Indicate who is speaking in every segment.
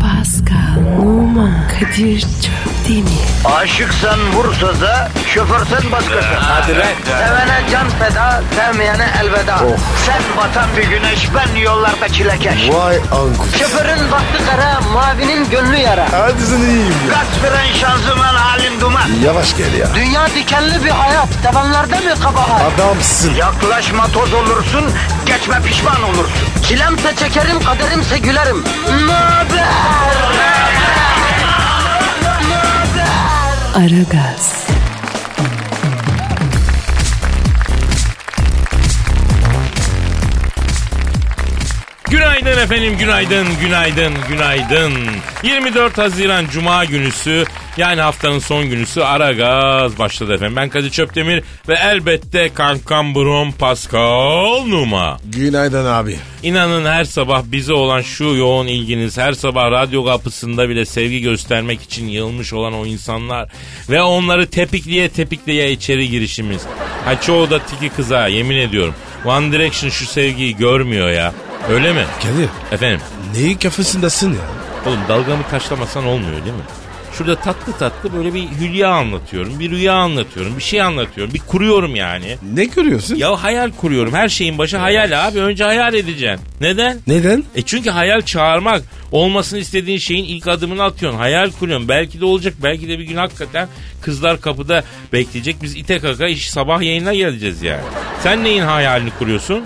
Speaker 1: Pascal, Oman, Kadir çok değil mi?
Speaker 2: Aşıksan vursa da şoförsen başkasın.
Speaker 3: Hadi lan. Oh.
Speaker 2: Sevene can feda, sevmeyene elveda. Sen batan bir güneş, ben yollarda çilekeş.
Speaker 4: Vay anku.
Speaker 2: Şoförün baktı kara, mavinin gönlü yara.
Speaker 4: Hadi sen iyiyim ya.
Speaker 2: Kasperen şanzıman halin duman.
Speaker 4: Yavaş gel ya.
Speaker 2: Dünya dikenli bir hayat, sevenlerde mi kabahar?
Speaker 4: Adamsın.
Speaker 2: Yaklaşma toz olursun, geçme pişman olursun. Çilemse çekerim, kaderimse gülerim. Möber!
Speaker 1: Aragaz,
Speaker 3: Günaydın efendim, günaydın, günaydın, günaydın. 24 Haziran Cuma günüsü yani haftanın son günüsü ara gaz başladı efendim. Ben Kadir Çöptemir ve elbette kankam Brom Pascal Numa.
Speaker 4: Günaydın abi.
Speaker 3: İnanın her sabah bize olan şu yoğun ilginiz, her sabah radyo kapısında bile sevgi göstermek için yığılmış olan o insanlar ve onları tepikliye tepikliye içeri girişimiz. Ha çoğu da tiki kıza yemin ediyorum. One Direction şu sevgiyi görmüyor ya. Öyle mi?
Speaker 4: Kadir
Speaker 3: Efendim?
Speaker 4: neyin kafasındasın ya?
Speaker 3: Oğlum dalgamı taşlamasan olmuyor değil mi? Şurada tatlı tatlı böyle bir hülya anlatıyorum, bir rüya anlatıyorum, bir şey anlatıyorum, bir kuruyorum yani.
Speaker 4: Ne görüyorsun?
Speaker 3: Ya hayal kuruyorum. Her şeyin başı hayal abi. Önce hayal edeceksin. Neden?
Speaker 4: Neden?
Speaker 3: E çünkü hayal çağırmak. Olmasını istediğin şeyin ilk adımını atıyorsun. Hayal kuruyorsun. Belki de olacak. Belki de bir gün hakikaten kızlar kapıda bekleyecek. Biz ite kaka iş sabah yayına geleceğiz yani. Sen neyin hayalini kuruyorsun?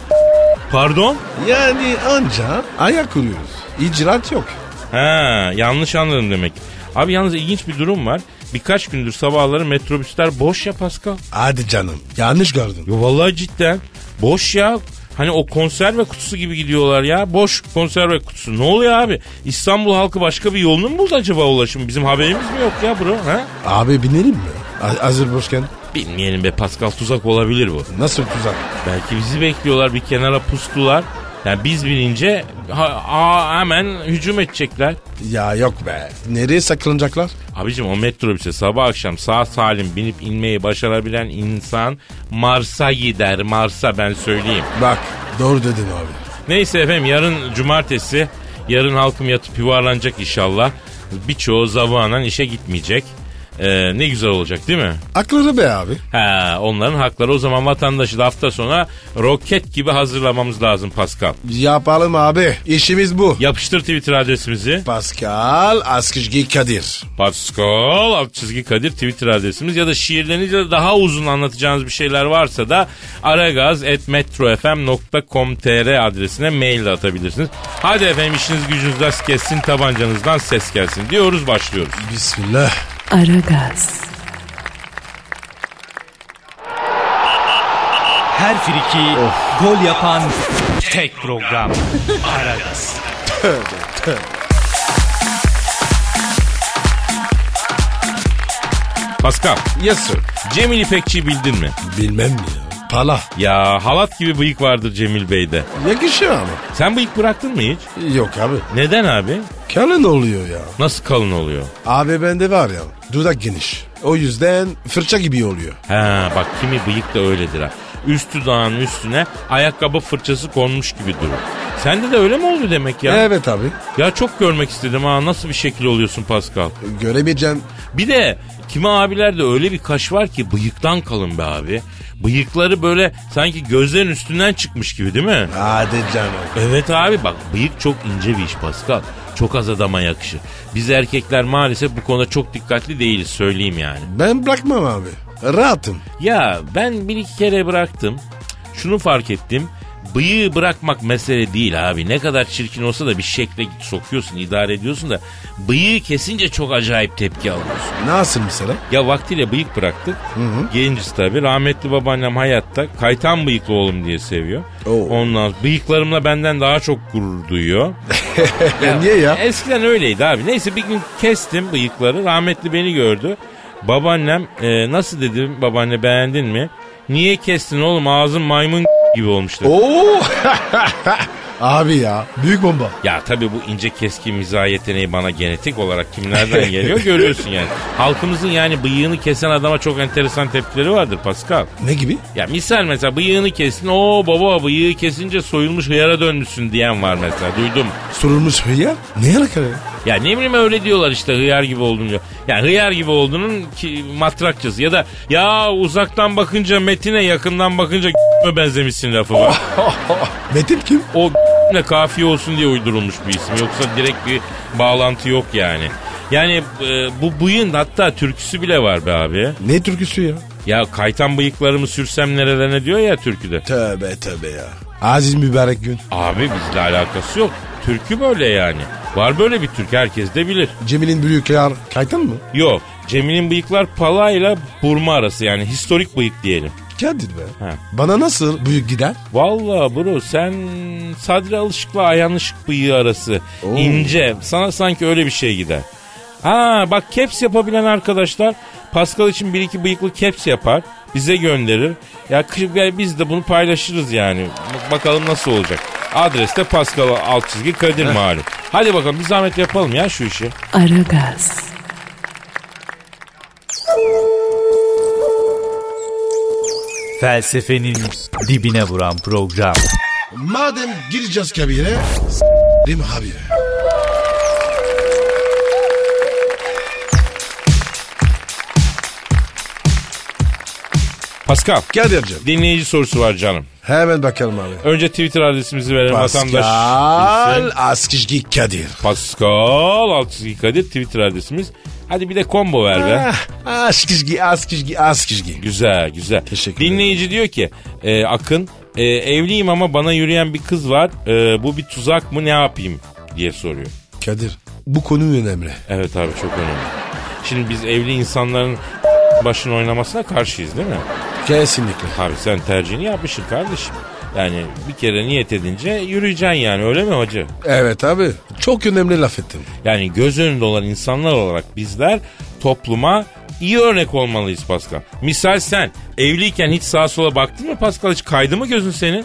Speaker 3: Pardon?
Speaker 4: Yani anca ayak kuruyoruz. İcraat yok.
Speaker 3: Ha, yanlış anladım demek. Abi yalnız ilginç bir durum var. Birkaç gündür sabahları metrobüsler boş ya Pascal.
Speaker 4: Hadi canım. Yanlış gördün.
Speaker 3: Yo vallahi cidden. Boş ya. Hani o konserve kutusu gibi gidiyorlar ya. Boş konserve kutusu. Ne oluyor abi? İstanbul halkı başka bir yolunu mu buldu acaba ulaşım? Bizim haberimiz mi yok ya bro? Ha?
Speaker 4: Abi binelim mi? A- hazır boşken.
Speaker 3: Bilmeyelim be Pascal tuzak olabilir bu.
Speaker 4: Nasıl tuzak?
Speaker 3: Belki bizi bekliyorlar bir kenara pustular. Yani biz bilince ha- ha- hemen hücum edecekler.
Speaker 4: Ya yok be. Nereye saklanacaklar?
Speaker 3: Abicim o metrobüse sabah akşam sağ salim binip inmeyi başarabilen insan Mars'a gider. Mars'a ben söyleyeyim.
Speaker 4: Bak doğru dedin abi.
Speaker 3: Neyse efendim yarın cumartesi. Yarın halkım yatıp yuvarlanacak inşallah. Birçoğu zavuanan işe gitmeyecek. Ee, ne güzel olacak değil mi?
Speaker 4: Akları be abi.
Speaker 3: Ha, onların hakları o zaman vatandaşı da hafta sona roket gibi hazırlamamız lazım Pascal.
Speaker 4: Yapalım abi. İşimiz bu.
Speaker 3: Yapıştır Twitter adresimizi.
Speaker 4: Pascal Askışgi Kadir.
Speaker 3: Pascal alt çizgi Kadir Twitter adresimiz ya da şiirleriniz ya da daha uzun anlatacağınız bir şeyler varsa da aragaz.metrofm.com.tr adresine mail de atabilirsiniz. Hadi efendim işiniz gücünüz rast kessin tabancanızdan ses gelsin diyoruz başlıyoruz.
Speaker 4: Bismillah.
Speaker 1: Aragaz,
Speaker 5: Her friki gol yapan tek program. Aragaz.
Speaker 3: Pascal
Speaker 4: Yes sir.
Speaker 3: Cemil İpekçi bildin mi?
Speaker 4: Bilmem mi ya? Pala.
Speaker 3: Ya halat gibi bıyık vardır Cemil Bey'de.
Speaker 4: Yakışıyor ama.
Speaker 3: Sen bıyık bıraktın mı hiç?
Speaker 4: Yok abi.
Speaker 3: Neden abi?
Speaker 4: Kalın oluyor ya.
Speaker 3: Nasıl kalın oluyor?
Speaker 4: Abi bende var ya dudak geniş. O yüzden fırça gibi oluyor.
Speaker 3: Ha bak kimi bıyık da öyledir ha. Üst dudağın üstüne ayakkabı fırçası konmuş gibi durur. Sende de öyle mi oldu demek ya?
Speaker 4: Evet abi.
Speaker 3: Ya çok görmek istedim ha nasıl bir şekil oluyorsun Pascal.
Speaker 4: Göremeyeceğim.
Speaker 3: Bir de kimi abilerde öyle bir kaş var ki bıyıktan kalın be abi. Bıyıkları böyle sanki gözlerin üstünden çıkmış gibi değil mi?
Speaker 4: Hadi canım.
Speaker 3: Evet abi bak bıyık çok ince bir iş Pascal. Çok az adama yakışır. Biz erkekler maalesef bu konuda çok dikkatli değiliz söyleyeyim yani.
Speaker 4: Ben bırakmam abi. Rahatım.
Speaker 3: Ya ben bir iki kere bıraktım. Şunu fark ettim. Bıyığı bırakmak mesele değil abi. Ne kadar çirkin olsa da bir şekle sokuyorsun, idare ediyorsun da bıyığı kesince çok acayip tepki alıyorsun.
Speaker 4: Nasıl mesela?
Speaker 3: Ya vaktiyle bıyık bıraktık. Gencisi tabii. Rahmetli babaannem hayatta kaytan bıyıklı oğlum diye seviyor.
Speaker 4: Oo.
Speaker 3: Ondan bıyıklarımla benden daha çok gurur duyuyor.
Speaker 4: E, niye ya?
Speaker 3: Eskiden öyleydi abi. Neyse bir gün kestim bıyıkları. Rahmetli beni gördü. Babaannem e, nasıl dedim babaanne beğendin mi? Niye kestin oğlum ağzın maymun gibi olmuştu.
Speaker 4: Oo. abi ya büyük bomba.
Speaker 3: Ya tabii bu ince keskin mizah yeteneği bana genetik olarak kimlerden geliyor görüyorsun yani. Halkımızın yani bıyığını kesen adama çok enteresan tepkileri vardır Pascal.
Speaker 4: Ne gibi?
Speaker 3: Ya misal mesela bıyığını kestin o baba bıyığı kesince soyulmuş hıyara dönmüşsün diyen var mesela duydum.
Speaker 4: Sorulmuş hıyar. şey Ne alakalı?
Speaker 3: Ya ne bileyim öyle diyorlar işte hıyar gibi oldun diyor. Yani hıyar gibi olduğunun ki matrakçası ya da ya uzaktan bakınca Metin'e yakından bakınca benzemişsin lafı var.
Speaker 4: Metin kim?
Speaker 3: o ne kafiye olsun diye uydurulmuş bir isim. Yoksa direkt bir bağlantı yok yani. Yani e, bu bıyığın hatta türküsü bile var be abi.
Speaker 4: Ne türküsü ya?
Speaker 3: Ya kaytan bıyıklarımı sürsem nerelerine diyor ya türküde.
Speaker 4: Tövbe tövbe ya. Aziz mübarek gün.
Speaker 3: Abi bizle alakası yok. Türkü böyle yani. Var böyle bir türkü herkes de bilir.
Speaker 4: Cemil'in büyükler kaytan mı?
Speaker 3: Yok Cemil'in bıyıklar palayla burma arası yani historik bıyık diyelim.
Speaker 4: Kadir be.
Speaker 3: Ha.
Speaker 4: Bana nasıl büyük gider?
Speaker 3: Vallahi bro sen Sadri Alışık'la Ayhan Işık bıyığı arası
Speaker 4: Oo.
Speaker 3: ince. Sana sanki öyle bir şey gider. Ha bak caps yapabilen arkadaşlar Pascal için bir iki bıyıklı caps yapar. Bize gönderir. Ya kı- ya biz de bunu paylaşırız yani. Bak- Bakalım nasıl olacak. Adres de Pascal alt çizgi Kadir malum. Hadi bakalım bir zahmet yapalım ya şu işi.
Speaker 1: Aragaz,
Speaker 5: Felsefenin dibine vuran program.
Speaker 4: Madem gireceğiz kabire s**rim abi.
Speaker 3: Pascal
Speaker 4: Kadir'cim.
Speaker 3: dinleyici sorusu var canım.
Speaker 4: Hemen bakalım abi.
Speaker 3: Önce Twitter adresimizi verelim vatandaş.
Speaker 4: Pascal Askizgi Kadir.
Speaker 3: Pascal Altçizgi Kadir Twitter adresimiz. Hadi bir de combo ver be.
Speaker 4: Ah, Askizgi, Askizgi, Askizgi.
Speaker 3: Güzel güzel.
Speaker 4: Teşekkür
Speaker 3: Dinleyici diyor ki e, Akın e, evliyim ama bana yürüyen bir kız var. E, bu bir tuzak mı ne yapayım diye soruyor.
Speaker 4: Kadir, bu konu önemli.
Speaker 3: Evet abi çok önemli. Şimdi biz evli insanların başını oynamasına karşıyız değil mi?
Speaker 4: Kesinlikle.
Speaker 3: Abi sen tercihini yapmışsın kardeşim. Yani bir kere niyet edince yürüyeceksin yani öyle mi hacı?
Speaker 4: Evet abi, çok önemli laf ettin.
Speaker 3: Yani göz önünde olan insanlar olarak bizler topluma iyi örnek olmalıyız Pascal. Misal sen evliyken hiç sağa sola baktın mı Pascal hiç kaydı mı gözün senin?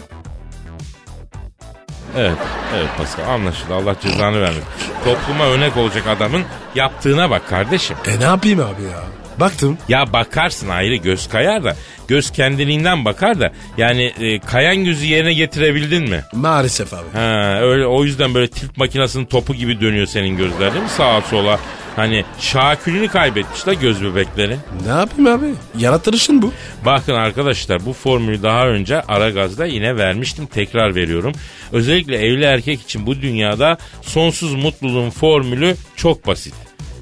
Speaker 3: Evet, evet Pascal anlaşıldı. Allah cezanı vermesin. Topluma örnek olacak adamın yaptığına bak kardeşim.
Speaker 4: E ne yapayım abi ya? Baktım.
Speaker 3: Ya bakarsın ayrı göz kayar da göz kendiliğinden bakar da yani e, kayan gözü yerine getirebildin mi?
Speaker 4: Maalesef abi.
Speaker 3: Ha, öyle o yüzden böyle tilt makinasının topu gibi dönüyor senin gözler değil mi sağa sola? Hani şakülünü kaybetmiş la göz bebekleri.
Speaker 4: Ne yapayım abi? Yaratılışın bu.
Speaker 3: Bakın arkadaşlar bu formülü daha önce Aragaz'da yine vermiştim tekrar veriyorum. Özellikle evli erkek için bu dünyada sonsuz mutluluğun formülü çok basit.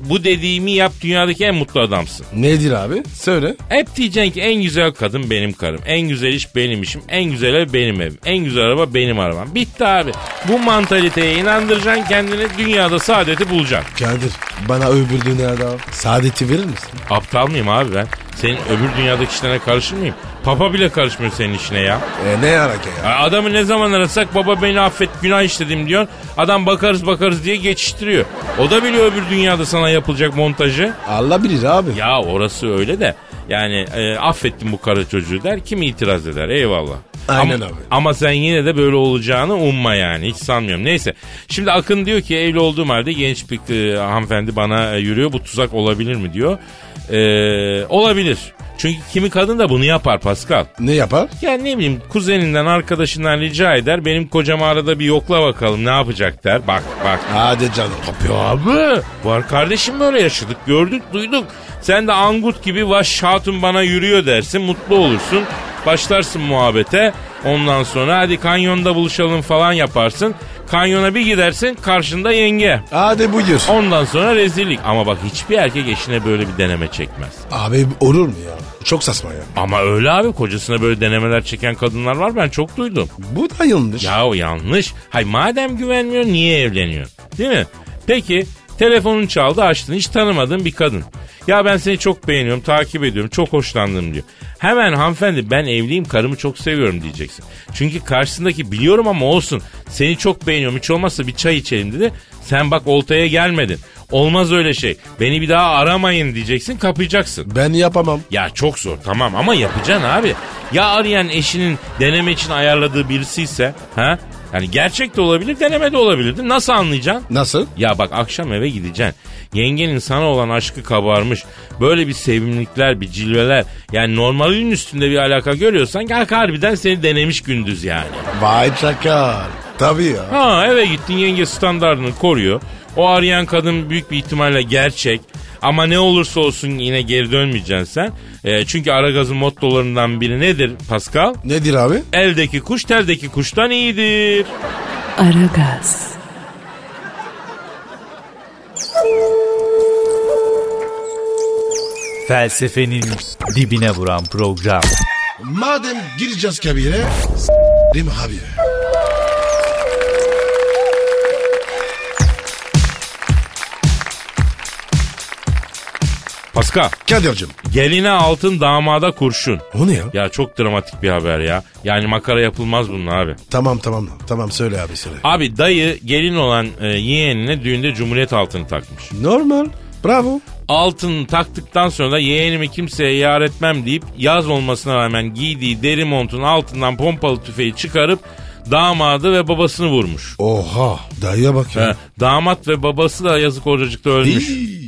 Speaker 3: Bu dediğimi yap dünyadaki en mutlu adamsın.
Speaker 4: Nedir abi? Söyle.
Speaker 3: Hep diyeceksin ki en güzel kadın benim karım. En güzel iş benim işim. En güzel ev benim evim. En güzel araba benim arabam. Bitti abi. Bu mantaliteye inandıracaksın kendini dünyada saadeti bulacaksın.
Speaker 4: Kadir, bana öbür dünyada saadeti verir misin?
Speaker 3: Aptal mıyım abi ben? Senin öbür dünyadaki işlerine karışır mıyım? Papa bile karışmıyor senin işine ya.
Speaker 4: E ne yaraka ya?
Speaker 3: Ya Adamı ne zaman arasak baba beni affet günah işledim diyor. Adam bakarız bakarız diye geçiştiriyor. O da biliyor öbür dünyada sana yapılacak montajı.
Speaker 4: Allah bilir abi.
Speaker 3: Ya orası öyle de yani e, affettim bu kara çocuğu der kim itiraz eder eyvallah.
Speaker 4: Aynen
Speaker 3: ama,
Speaker 4: abi.
Speaker 3: Ama sen yine de böyle olacağını umma yani hiç sanmıyorum. Neyse şimdi Akın diyor ki evli olduğum halde genç bir e, hanımefendi bana e, yürüyor bu tuzak olabilir mi diyor. E, olabilir. Çünkü kimi kadın da bunu yapar Pascal.
Speaker 4: Ne yapar?
Speaker 3: Yani ne bileyim kuzeninden arkadaşından rica eder benim kocama arada bir yokla bakalım ne yapacak der. Bak bak
Speaker 4: Hadi canım.
Speaker 3: ya abi var kardeşim böyle yaşadık gördük duyduk. Sen de angut gibi vaş hatun bana yürüyor dersin mutlu olursun. Başlarsın muhabbete ondan sonra hadi kanyonda buluşalım falan yaparsın. Kanyona bir gidersin karşında yenge.
Speaker 4: Hadi buyur.
Speaker 3: Ondan sonra rezillik. Ama bak hiçbir erkek eşine böyle bir deneme çekmez.
Speaker 4: Abi olur mu ya? Çok saçma ya.
Speaker 3: Ama öyle abi kocasına böyle denemeler çeken kadınlar var ben çok duydum.
Speaker 4: Bu da yanlış.
Speaker 3: Ya o yanlış. Hay madem güvenmiyor niye evleniyor? Değil mi? Peki telefonun çaldı açtın hiç tanımadığın bir kadın. Ya ben seni çok beğeniyorum takip ediyorum çok hoşlandım diyor. Hemen hanımefendi ben evliyim karımı çok seviyorum diyeceksin. Çünkü karşısındaki biliyorum ama olsun seni çok beğeniyorum hiç olmazsa bir çay içelim dedi. Sen bak oltaya gelmedin. Olmaz öyle şey. Beni bir daha aramayın diyeceksin kapayacaksın.
Speaker 4: Ben yapamam.
Speaker 3: Ya çok zor tamam ama yapacaksın abi. Ya arayan eşinin deneme için ayarladığı birisi ise ha? Yani gerçek de olabilir deneme de olabilir. değil mi? Nasıl anlayacaksın?
Speaker 4: Nasıl?
Speaker 3: Ya bak akşam eve gideceksin. Yengenin sana olan aşkı kabarmış. Böyle bir sevimlilikler, bir cilveler. Yani normalin üstünde bir alaka görüyorsan ya harbiden seni denemiş gündüz yani.
Speaker 4: Vay çakal. Tabii ya.
Speaker 3: Ha eve gittin yenge standartını koruyor. O arayan kadın büyük bir ihtimalle gerçek. Ama ne olursa olsun yine geri dönmeyeceksin sen. E, çünkü Aragaz'ın mottolarından biri nedir Pascal?
Speaker 4: Nedir abi?
Speaker 3: Eldeki kuş terdeki kuştan iyidir.
Speaker 1: Aragaz,
Speaker 5: Felsefenin dibine vuran program.
Speaker 4: Madem gireceğiz kabire s**rim abi.
Speaker 3: Pascal
Speaker 4: Kadir'cim
Speaker 3: geline altın damada kurşun.
Speaker 4: o ne ya?
Speaker 3: Ya çok dramatik bir haber ya. Yani makara yapılmaz bunun abi.
Speaker 4: Tamam tamam tamam söyle abi söyle.
Speaker 3: Abi dayı gelin olan e, yeğenine düğünde cumhuriyet altını takmış.
Speaker 4: Normal. Bravo.
Speaker 3: Altını taktıktan sonra da yeğenimi kimseye yar etmem deyip yaz olmasına rağmen giydiği deri montun altından pompalı tüfeği çıkarıp damadı ve babasını vurmuş.
Speaker 4: Oha. Dayıya bak
Speaker 3: E,
Speaker 4: ya.
Speaker 3: damat ve babası da yazık oracıkta ölmüş.
Speaker 4: İyi.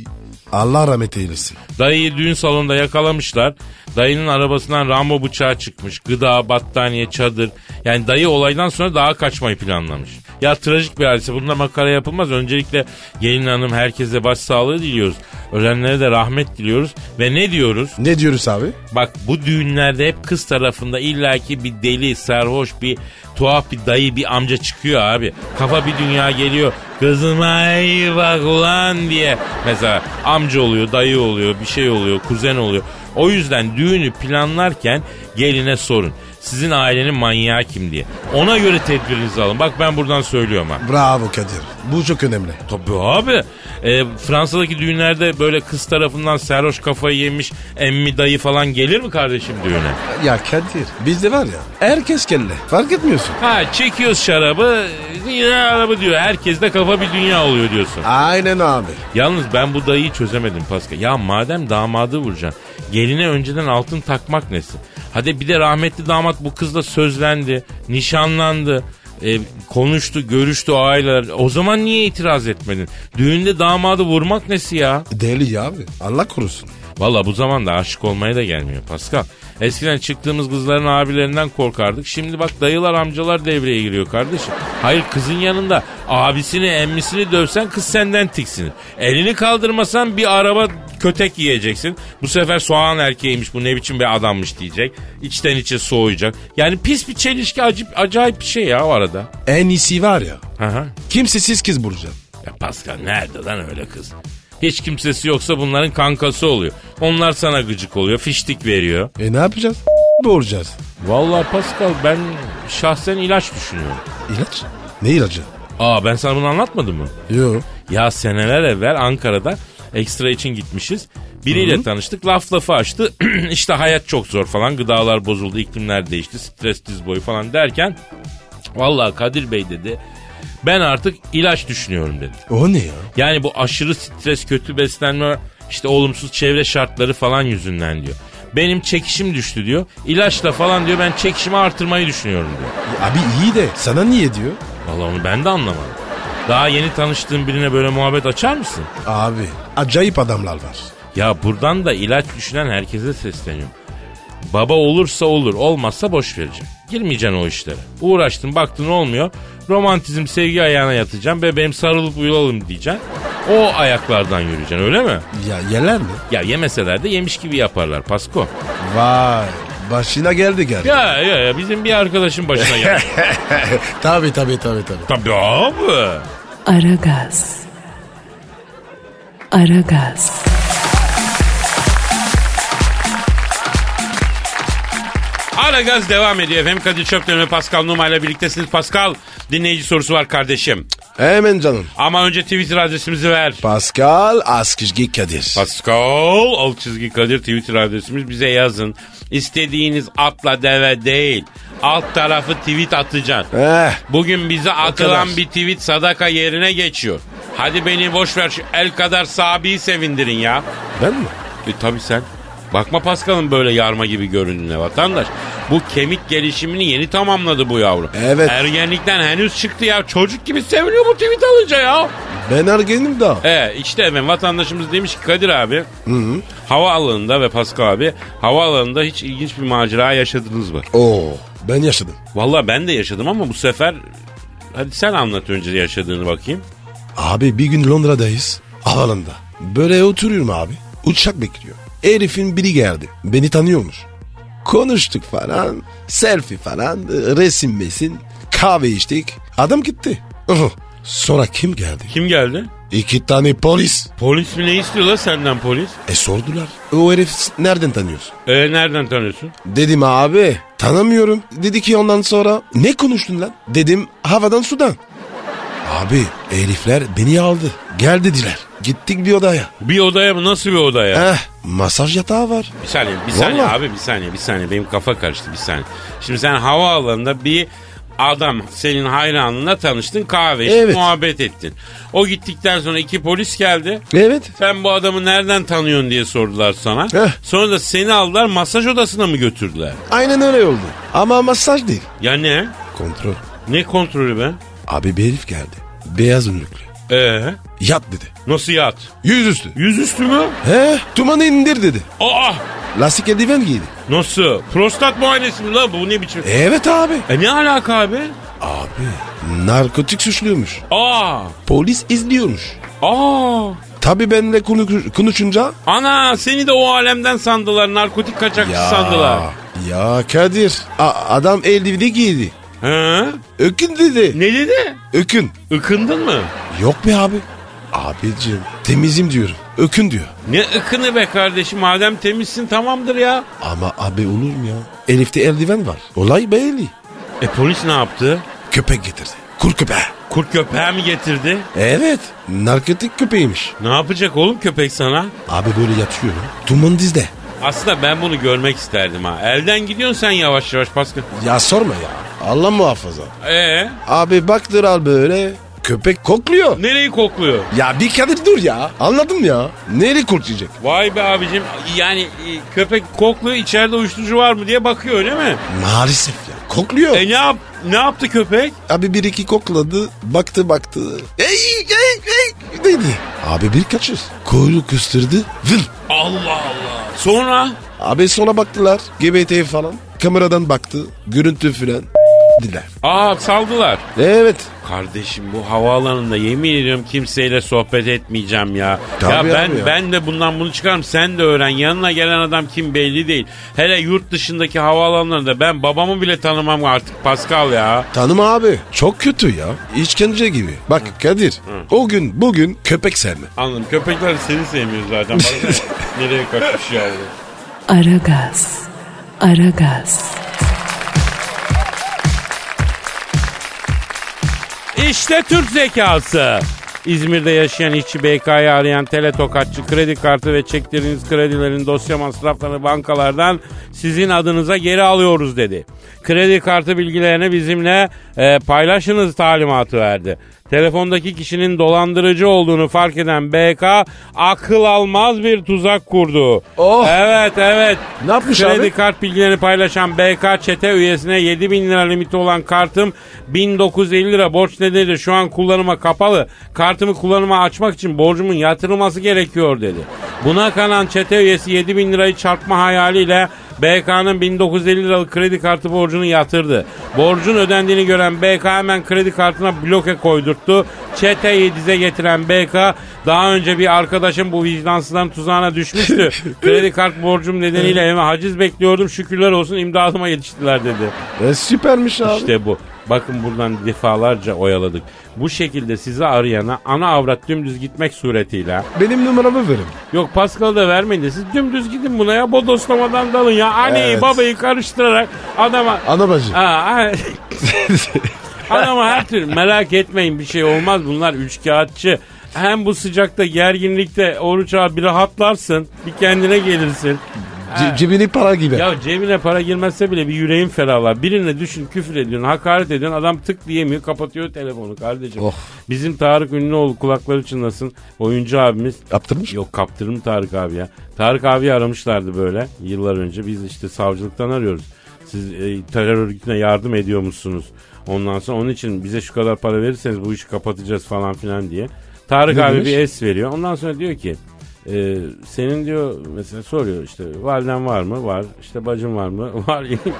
Speaker 4: Allah rahmet eylesin.
Speaker 3: Dayıyı düğün salonunda yakalamışlar. Dayının arabasından Rambo bıçağı çıkmış. Gıda, battaniye, çadır. Yani dayı olaydan sonra daha kaçmayı planlamış. Ya trajik bir hadise. Bununla makara yapılmaz. Öncelikle gelin hanım herkese başsağlığı diliyoruz. Ölenlere de rahmet diliyoruz. Ve ne diyoruz?
Speaker 4: Ne diyoruz abi?
Speaker 3: Bak bu düğünlerde hep kız tarafında illaki bir deli, sarhoş, bir tuhaf bir dayı, bir amca çıkıyor abi. Kafa bir dünya geliyor. Kızıma iyi bak ulan diye. Mesela amca oluyor, dayı oluyor, bir şey oluyor, kuzen oluyor. O yüzden düğünü planlarken geline sorun. Sizin ailenin manyağı kim diye. Ona göre tedbirinizi alın. Bak ben buradan söylüyorum ha.
Speaker 4: Bravo Kadir. Bu çok önemli.
Speaker 3: Tabii abi. Ee, Fransa'daki düğünlerde böyle kız tarafından sarhoş kafayı yemiş emmi dayı falan gelir mi kardeşim düğüne?
Speaker 4: Ya Kadir bizde var ya herkes kelle. Fark etmiyorsun.
Speaker 3: Ha çekiyoruz şarabı, yine araba diyor. Herkes de kafa bir dünya oluyor diyorsun.
Speaker 4: Aynen abi.
Speaker 3: Yalnız ben bu dayıyı çözemedim Pascal. Ya madem damadı vuracaksın, geline önceden altın takmak nesi? Hadi bir de rahmetli damat bu kızla sözlendi, nişanlandı. e, konuştu, görüştü aileler. O zaman niye itiraz etmedin? Düğünde damadı vurmak nesi ya?
Speaker 4: Deli ya abi. Allah korusun.
Speaker 3: Valla bu zamanda aşık olmaya da gelmiyor Pascal. Eskiden çıktığımız kızların abilerinden korkardık. Şimdi bak dayılar amcalar devreye giriyor kardeşim. Hayır kızın yanında abisini emmisini dövsen kız senden tiksinir. Elini kaldırmasan bir araba kötek yiyeceksin. Bu sefer soğan erkeğiymiş bu ne biçim bir adammış diyecek. İçten içe soğuyacak. Yani pis bir çelişki acip, acayip bir şey ya o arada.
Speaker 4: En iyisi var ya.
Speaker 3: Aha.
Speaker 4: Kimsesiz kız Burcu.
Speaker 3: Ya Pascal nerede lan öyle kız? Hiç kimsesi yoksa bunların kankası oluyor. Onlar sana gıcık oluyor, fiştik veriyor.
Speaker 4: E ne yapacağız? Boğuracağız.
Speaker 3: Vallahi Pascal ben şahsen ilaç düşünüyorum.
Speaker 4: İlaç? Ne ilacı?
Speaker 3: Aa ben sana bunu anlatmadım mı?
Speaker 4: Yok.
Speaker 3: Ya seneler evvel Ankara'da ekstra için gitmişiz. Biriyle tanıştık laf lafı açtı. işte hayat çok zor falan gıdalar bozuldu iklimler değişti stres diz boyu falan derken. Vallahi Kadir Bey dedi ben artık ilaç düşünüyorum dedi.
Speaker 4: O ne ya?
Speaker 3: Yani bu aşırı stres, kötü beslenme, işte olumsuz çevre şartları falan yüzünden diyor. Benim çekişim düştü diyor. İlaçla falan diyor ben çekişimi artırmayı düşünüyorum diyor.
Speaker 4: Ya Abi iyi de sana niye diyor?
Speaker 3: Valla onu ben de anlamadım. Daha yeni tanıştığın birine böyle muhabbet açar mısın?
Speaker 4: Abi acayip adamlar var.
Speaker 3: Ya buradan da ilaç düşünen herkese sesleniyorum. Baba olursa olur, olmazsa boş vereceğim. Girmeyeceksin o işlere. Uğraştın, baktın olmuyor. Romantizm, sevgi ayağına yatacağım. Bebeğim sarılıp uyulalım diyeceksin. O ayaklardan yürüyeceksin öyle mi?
Speaker 4: Ya yerler mi?
Speaker 3: Ya yemeseler de yemiş gibi yaparlar Pasko.
Speaker 4: Vay başına geldi gel.
Speaker 3: Ya ya ya bizim bir arkadaşın başına geldi.
Speaker 4: Tabi tabi tabi tabi.
Speaker 3: Tabii abi.
Speaker 1: Aragaz. Aragaz,
Speaker 3: Ara gaz devam ediyor efendim. Kadir Çöpten ve Pascal Numa ile birliktesiniz. Pascal dinleyici sorusu var kardeşim.
Speaker 4: Hemen canım.
Speaker 3: Ama önce Twitter adresimizi ver.
Speaker 4: Pascal Askizgi Kadir.
Speaker 3: Pascal alt çizgi Kadir Twitter adresimiz bize yazın. İstediğiniz atla deve değil. Alt tarafı tweet atacaksın.
Speaker 4: Eh,
Speaker 3: Bugün bize atılan
Speaker 4: kadar.
Speaker 3: bir tweet sadaka yerine geçiyor. Hadi beni boş ver şu el kadar sabiyi sevindirin ya.
Speaker 4: ben mi?
Speaker 3: E tabi sen. Bakma Pascal'ın böyle yarma gibi göründüğüne vatandaş. Bu kemik gelişimini yeni tamamladı bu yavru.
Speaker 4: Evet.
Speaker 3: Ergenlikten henüz çıktı ya. Çocuk gibi seviniyor bu tweet alınca ya.
Speaker 4: Ben ergenim daha.
Speaker 3: E işte efendim vatandaşımız demiş ki Kadir abi. Havaalanında ve Pascal abi havaalanında hiç ilginç bir macera yaşadınız mı?
Speaker 4: Oo, ben yaşadım.
Speaker 3: Valla ben de yaşadım ama bu sefer hadi sen anlat önce yaşadığını bakayım.
Speaker 4: Abi bir gün Londra'dayız. Havalanda. Böyle oturuyorum abi. Uçak bekliyor. Herifin biri geldi. Beni tanıyormuş. Konuştuk falan. Selfie falan. Resim mesin. Kahve içtik. Adam gitti. Hı. Sonra kim geldi?
Speaker 3: Kim geldi?
Speaker 4: İki tane polis.
Speaker 3: Polis mi ne istiyorlar senden polis?
Speaker 4: E sordular. O herif nereden tanıyorsun?
Speaker 3: E nereden tanıyorsun?
Speaker 4: Dedim abi tanımıyorum. Dedi ki ondan sonra ne konuştun lan? Dedim havadan sudan. Abi herifler beni aldı. Gel dediler. Gittik bir odaya.
Speaker 3: Bir odaya mı? Nasıl bir odaya?
Speaker 4: Eh masaj yatağı var.
Speaker 3: Bir saniye, bir saniye
Speaker 4: Vallahi.
Speaker 3: abi bir saniye, bir saniye. Benim kafa karıştı bir saniye. Şimdi sen havaalanında bir adam senin hayranına tanıştın kahve içtin
Speaker 4: Evet.
Speaker 3: muhabbet ettin. O gittikten sonra iki polis geldi.
Speaker 4: Evet.
Speaker 3: Sen bu adamı nereden tanıyorsun diye sordular sana.
Speaker 4: Heh.
Speaker 3: Sonra da seni aldılar masaj odasına mı götürdüler?
Speaker 4: Aynen öyle oldu. Ama masaj değil.
Speaker 3: Ya ne?
Speaker 4: Kontrol.
Speaker 3: Ne kontrolü be?
Speaker 4: Abi bir herif geldi. Beyaz önlüklü.
Speaker 3: Ee,
Speaker 4: Yat dedi.
Speaker 3: nasıl yat?
Speaker 4: Yüzüstü.
Speaker 3: Yüzüstü mü?
Speaker 4: He tumanı indir dedi.
Speaker 3: Aa!
Speaker 4: Lastik eldiven giydi.
Speaker 3: Nasıl? Prostat muayenesi mi lan bu ne biçim?
Speaker 4: Evet abi.
Speaker 3: E ne alaka abi?
Speaker 4: Abi narkotik suçluyormuş.
Speaker 3: Aa!
Speaker 4: Polis izliyormuş.
Speaker 3: Aa!
Speaker 4: Tabii benimle konu- konuşunca
Speaker 3: Ana seni de o alemden sandılar. Narkotik kaçakçı sandılar.
Speaker 4: Ya Kadir. a- adam eldiveni giydi.
Speaker 3: He?
Speaker 4: Ökün dedi.
Speaker 3: Ne dedi?
Speaker 4: Ökün.
Speaker 3: Ikındın mı?
Speaker 4: Yok be abi. Abicim temizim diyorum. Ökün diyor.
Speaker 3: Ne ıkını be kardeşim madem temizsin tamamdır ya.
Speaker 4: Ama abi olur mu ya? Elif'te eldiven var. Olay belli.
Speaker 3: E polis ne yaptı?
Speaker 4: Köpek getirdi. Kur köpeği.
Speaker 3: Kurt köpeği mi getirdi?
Speaker 4: Evet. Narkotik köpeğiymiş.
Speaker 3: Ne yapacak oğlum köpek sana?
Speaker 4: Abi böyle yatıyor. Duman dizde.
Speaker 3: Aslında ben bunu görmek isterdim ha. Elden gidiyorsun sen yavaş yavaş Pascal.
Speaker 4: Ya sorma ya. Allah muhafaza.
Speaker 3: Ee,
Speaker 4: Abi baktır al böyle. Köpek kokluyor.
Speaker 3: nereyi kokluyor?
Speaker 4: Ya bir Kadir dur ya. Anladım ya. Nereye kurtulacak?
Speaker 3: Vay be abicim yani e, köpek kokluyor içeride uyuşturucu var mı diye bakıyor öyle mi?
Speaker 4: Maalesef ya. Kokluyor.
Speaker 3: E ne, yap ne yaptı köpek?
Speaker 4: Abi bir iki kokladı, baktı baktı. Ey ey ey dedi. Abi bir kaçır. Kuyruk kıstırdı. Vın.
Speaker 3: Allah Allah. Sonra?
Speaker 4: Abi sonra baktılar. GBT falan. Kameradan baktı. Görüntü filan. Diler.
Speaker 3: Aa saldılar.
Speaker 4: Evet.
Speaker 3: Kardeşim bu havaalanında yemin ediyorum kimseyle sohbet etmeyeceğim ya.
Speaker 4: Tabii
Speaker 3: ya
Speaker 4: abi
Speaker 3: ben
Speaker 4: ya.
Speaker 3: ben de bundan bunu çıkarım sen de öğren. Yanına gelen adam kim belli değil. Hele yurt dışındaki havaalanlarında ben babamı bile tanımam artık Pascal ya.
Speaker 4: Tanım abi. Çok kötü ya. İşkence gibi. Bak Kadir. O gün bugün köpek sevme.
Speaker 3: Anladım köpekler seni sevmiyor zaten. Bana ne- Nereye kaçmış yavrum.
Speaker 1: Aragaz. Aragaz.
Speaker 3: İşte Türk zekası. İzmir'de yaşayan işçi BK'yı arayan tele tokatçı kredi kartı ve çektirdiğiniz kredilerin dosya masraflarını bankalardan sizin adınıza geri alıyoruz dedi. Kredi kartı bilgilerini bizimle e, paylaşınız talimatı verdi. Telefondaki kişinin dolandırıcı olduğunu fark eden BK akıl almaz bir tuzak kurdu.
Speaker 4: Oh!
Speaker 3: Evet evet.
Speaker 4: Ne yapmış
Speaker 3: Kredi
Speaker 4: abi?
Speaker 3: kart bilgilerini paylaşan BK çete üyesine 7 bin lira limiti olan kartım 1950 lira borç nedeniyle şu an kullanıma kapalı. Kartımı kullanıma açmak için borcumun yatırılması gerekiyor dedi. Buna kanan çete üyesi 7 bin lirayı çarpma hayaliyle BK'nın 1950 liralık kredi kartı borcunu yatırdı. Borcun ödendiğini gören BK hemen kredi kartına bloke koydurttu. Çeteyi dize getiren BK daha önce bir arkadaşım bu vicdansızların tuzağına düşmüştü. kredi kart borcum nedeniyle eve haciz bekliyordum. Şükürler olsun imdadıma yetiştiler dedi.
Speaker 4: E, süpermiş abi.
Speaker 3: İşte bu. Bakın buradan defalarca oyaladık. Bu şekilde sizi arayana ana avrat dümdüz gitmek suretiyle.
Speaker 4: Benim numaramı verin.
Speaker 3: Yok Paskal'ı da vermeyin de siz dümdüz gidin buna ya bodoslamadan dalın ya. Anneyi
Speaker 4: Evet.
Speaker 3: babayı karıştırarak adama
Speaker 4: Ana bacı.
Speaker 3: Aa, Adama her türlü merak etmeyin bir şey olmaz bunlar üçkağıtçı. Hem bu sıcakta gerginlikte oruç abi bir rahatlarsın bir kendine gelirsin.
Speaker 4: Ce- cebini para gibi.
Speaker 3: Ya cebine para girmezse bile bir yüreğin ferahlar. Birine düşün küfür ediyorsun hakaret ediyorsun adam tık diyemiyor kapatıyor telefonu kardeşim.
Speaker 4: Oh.
Speaker 3: Bizim Tarık Ünlüoğlu kulakları çınlasın oyuncu abimiz.
Speaker 4: Yaptırmış.
Speaker 3: Yok kaptırım Tarık abi ya. Tarık abi aramışlardı böyle yıllar önce. Biz işte savcılıktan arıyoruz. Siz e, terör örgütüne yardım ediyor musunuz? Ondan sonra onun için bize şu kadar para verirseniz bu işi kapatacağız falan filan diye. Tarık
Speaker 4: Ne
Speaker 3: abi
Speaker 4: demiş?
Speaker 3: bir es veriyor. Ondan sonra diyor ki e, senin diyor mesela soruyor işte validen var mı? Var. İşte bacın var mı? Var. İki tane.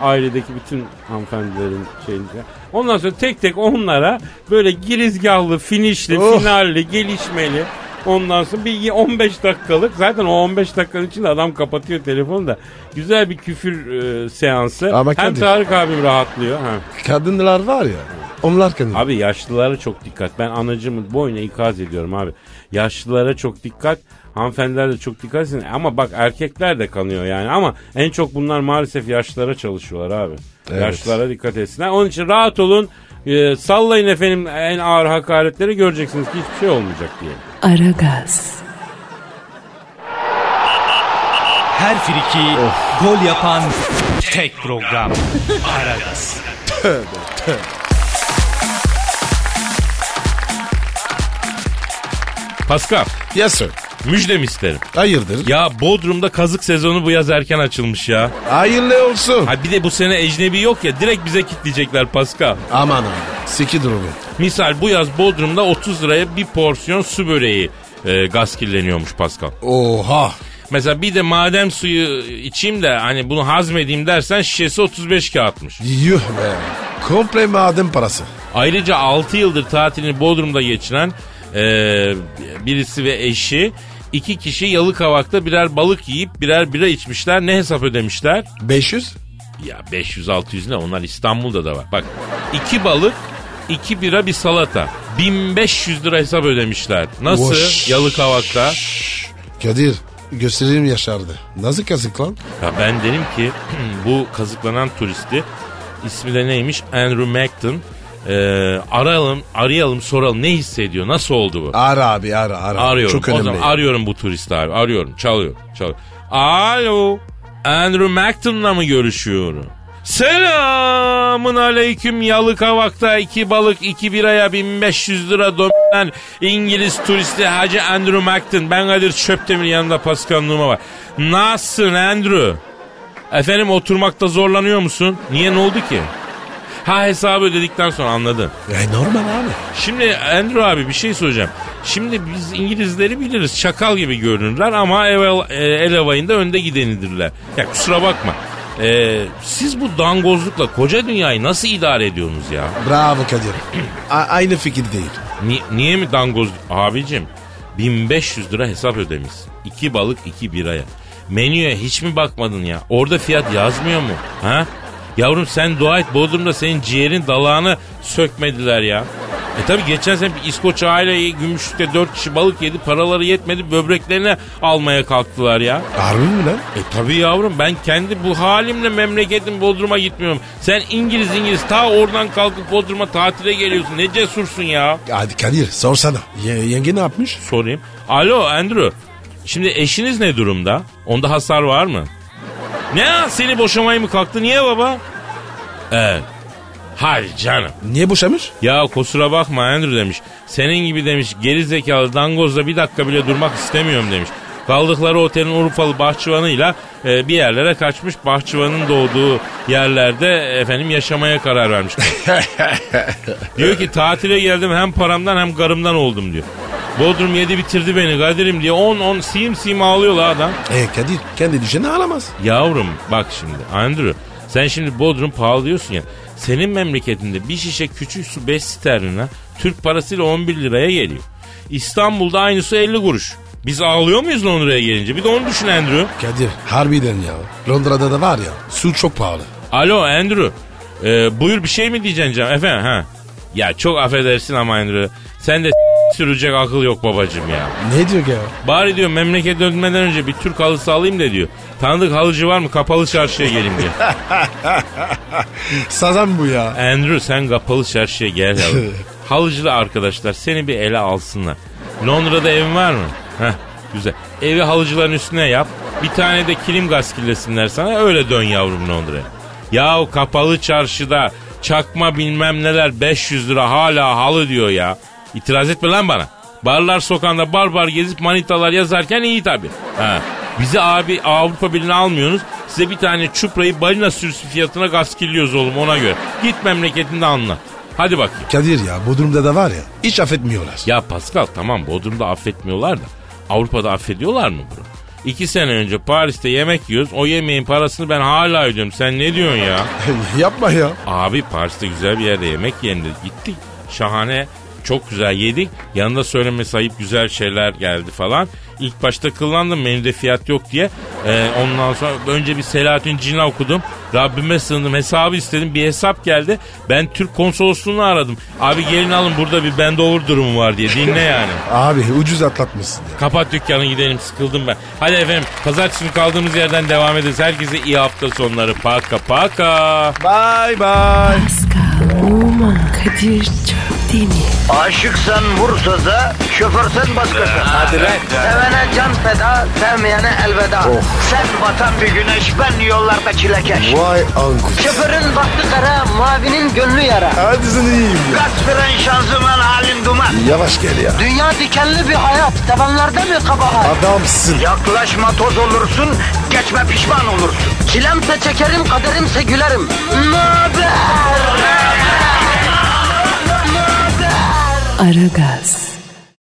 Speaker 3: Ailedeki bütün hanımefendilerin şeyinde.
Speaker 6: Ondan sonra tek tek onlara böyle girizgahlı, finişli,
Speaker 4: Oh.
Speaker 6: finalli, gelişmeli. Ondan sonra bir 15 dakikalık zaten o 15 dakikanın içinde adam kapatıyor telefonu da. Güzel bir küfür e, seansı.
Speaker 4: Ama
Speaker 6: Hem
Speaker 4: Kadir-
Speaker 6: Tarık abim rahatlıyor. Ha.
Speaker 4: Kadınlar var ya. Onlar kadın.
Speaker 6: Abi yaşlılara çok dikkat. Ben anacımı boyuna ikaz ediyorum abi. Yaşlılara çok dikkat. Hanımefendiler de çok dikkat etsin. Ama bak erkekler de kanıyor yani. Ama en çok bunlar maalesef yaşlılara çalışıyorlar abi.
Speaker 4: Evet.
Speaker 6: Yaşlılara dikkat etsinler. Onun için rahat olun. Ee, sallayın efendim en ağır hakaretleri göreceksiniz ki hiçbir şey olmayacak diye.
Speaker 1: Aragaz.
Speaker 5: Her friki gol yapan tek program. Aragaz.
Speaker 3: Pascal
Speaker 4: Yes sir.
Speaker 3: müjdem isterim.
Speaker 4: Hayırdır?
Speaker 3: Ya Bodrum'da kazık sezonu bu yaz erken açılmış ya.
Speaker 4: Hayırlı olsun.
Speaker 3: Ha bir de bu sene ecnebi yok ya direkt bize kitleyecekler Pascal.
Speaker 4: Aman abi. Siki durumu.
Speaker 3: Misal bu yaz Bodrum'da 30 liraya bir porsiyon su böreği e, gaz kirleniyormuş Pascal.
Speaker 4: Oha.
Speaker 3: Mesela bir de madem suyu içeyim de hani bunu hazmedeyim dersen şişesi 35 kağıtmış.
Speaker 4: Yuh be. Komple maden parası.
Speaker 3: Ayrıca 6 yıldır tatilini Bodrum'da geçiren e, birisi ve eşi iki kişi Yalıkavak'ta birer balık yiyip birer bira içmişler. Ne hesap ödemişler?
Speaker 4: 500?
Speaker 3: Ya 500-600 ne onlar İstanbul'da da var. Bak iki balık, iki bira bir salata. 1500 lira hesap ödemişler. Nasıl?
Speaker 4: Voş.
Speaker 3: Yalıkavak'ta.
Speaker 4: Kadir gösterim yaşardı. Nasıl kazık lan?
Speaker 3: Ya ben derim ki bu kazıklanan turisti ismi de neymiş? Andrew Macton. Ee, arayalım, arayalım, soralım ne hissediyor? Nasıl oldu bu?
Speaker 4: Ara abi ara ara.
Speaker 3: Arıyorum.
Speaker 4: Çok
Speaker 3: o
Speaker 4: önemli.
Speaker 3: zaman arıyorum bu turisti abi. Arıyorum. Çalıyor. Çalıyor. Alo. Andrew Macton'la mı görüşüyorum? Selamın aleyküm Yalıkavak'ta iki balık iki biraya 1500 lira domen İngiliz turisti Hacı Andrew Macton. Ben Kadir Çöptemir yanında paskanlığıma var. Nasılsın Andrew? Efendim oturmakta zorlanıyor musun? Niye ne oldu ki? Ha hesabı ödedikten sonra anladım.
Speaker 4: E, normal abi.
Speaker 3: Şimdi Andrew abi bir şey soracağım. Şimdi biz İngilizleri biliriz. Çakal gibi görünürler ama evvel, e, el havayında önde gidenidirler. Ya kusura bakma. E, siz bu dangozlukla koca dünyayı nasıl idare ediyorsunuz ya?
Speaker 4: Bravo Kadir. A- aynı fikir değil.
Speaker 3: Ni- niye mi dangoz? Abicim 1500 lira hesap ödemişsin. İki balık iki biraya. Menüye hiç mi bakmadın ya? Orada fiyat yazmıyor mu? Ha? Yavrum sen dua et Bodrum'da senin ciğerin dalağını sökmediler ya. E tabi geçen sene bir İskoç aile Gümüşlük'te 4 kişi balık yedi paraları yetmedi böbreklerini almaya kalktılar ya.
Speaker 4: Harbi mi lan?
Speaker 3: E tabi yavrum ben kendi bu halimle memleketim Bodrum'a gitmiyorum. Sen İngiliz İngiliz ta oradan kalkıp Bodrum'a tatile geliyorsun ne cesursun ya.
Speaker 4: Hadi Kadir sorsana. Ye- yenge ne yapmış?
Speaker 3: sorayım. Alo Andrew. Şimdi eşiniz ne durumda? Onda hasar var mı? Ne ya, seni boşamaya mı kalktı? Niye baba? Evet. Hayır canım.
Speaker 4: Niye boşamış?
Speaker 3: Ya kusura bakma Andrew demiş. Senin gibi demiş geri zekalı dangozla bir dakika bile durmak istemiyorum demiş. Kaldıkları otelin Urfalı bahçıvanıyla e, bir yerlere kaçmış. Bahçıvanın doğduğu yerlerde efendim yaşamaya karar vermiş. diyor ki tatile geldim hem paramdan hem karımdan oldum diyor. Bodrum yedi bitirdi beni Kadir'im diye 10-10 sim sim ağlıyor la adam.
Speaker 4: E Kadir kendi düşeni alamaz.
Speaker 3: Yavrum bak şimdi Andrew sen şimdi Bodrum pahalı diyorsun ya. Senin memleketinde bir şişe küçük su 5 sterline Türk parasıyla 11 liraya geliyor. İstanbul'da aynı su 50 kuruş. Biz ağlıyor muyuz lan oraya gelince? Bir de onu düşün Andrew.
Speaker 4: Kadir harbiden ya. Londra'da da var ya su çok pahalı.
Speaker 3: Alo Andrew. Ee, buyur bir şey mi diyeceksin canım? Efendim ha. Ya çok affedersin ama Andrew. Sen de sürecek akıl yok babacım ya.
Speaker 4: Ne diyor ya?
Speaker 3: Bari diyor memleket dönmeden önce bir Türk halısı alayım da diyor. Tanıdık halıcı var mı? Kapalı çarşıya gelin diye.
Speaker 4: Sazan bu ya.
Speaker 3: Andrew sen kapalı çarşıya gel yavrum. Halıcılı arkadaşlar seni bir ele alsınlar. Londra'da evin var mı? Heh, güzel. Evi halıcıların üstüne yap. Bir tane de kilim gaz kirlesinler sana öyle dön yavrum Londra'ya. Yahu kapalı çarşıda çakma bilmem neler 500 lira hala halı diyor ya. İtiraz etme lan bana. Barlar sokağında bar bar gezip manitalar yazarken iyi tabi. Ha. Bizi abi Avrupa Birliği'ne almıyorsunuz. Size bir tane çuprayı balina sürüsü fiyatına gaz kirliyoruz oğlum ona göre. Git memleketinde anla. Hadi bakayım.
Speaker 4: Kadir ya bu durumda da var ya hiç affetmiyorlar.
Speaker 3: Ya Pascal tamam Bodrum'da affetmiyorlar da Avrupa'da affediyorlar mı bunu? İki sene önce Paris'te yemek yiyoruz. O yemeğin parasını ben hala ödüyorum. Sen ne diyorsun ya?
Speaker 4: Yapma ya.
Speaker 3: Abi Paris'te güzel bir yerde yemek yendi. Gittik. Şahane. Çok güzel yedik. Yanında söylemesi ayıp güzel şeyler geldi falan. İlk başta kıllandım menüde fiyat yok diye. Ee, ondan sonra önce bir Selahattin Cina okudum. Rabbime sığındım hesabı istedim. Bir hesap geldi. Ben Türk konsolosluğunu aradım. Abi gelin alın burada bir bendover durumu var diye. Dinle yani.
Speaker 4: Abi ucuz atlatmışsın. ya.
Speaker 3: Kapat dükkanı gidelim sıkıldım ben. Hadi efendim pazartesi günü kaldığımız yerden devam ederiz. Herkese iyi hafta sonları. Paka paka.
Speaker 4: Bye bye.
Speaker 1: Pascal, Oman, Kadir çok değil mi?
Speaker 2: Aşıksan vursa da, şoförsen başkasın. Hadi Sevene can feda, sevmeyene elveda. Sen batan bir güneş, ben yollarda çilekeş.
Speaker 4: Vay anku.
Speaker 2: Şoförün baktı kara, mavinin gönlü yara.
Speaker 4: Hadi sen iyiyim ya.
Speaker 2: Kasperen şanzıman halin duman.
Speaker 4: Yavaş gel ya.
Speaker 2: Dünya dikenli bir hayat, sevenlerde mi kabahar?
Speaker 4: Adamsın.
Speaker 2: Yaklaşma toz olursun, geçme pişman olursun. Çilemse çekerim, kaderimse gülerim. Möber!
Speaker 1: Aragaz.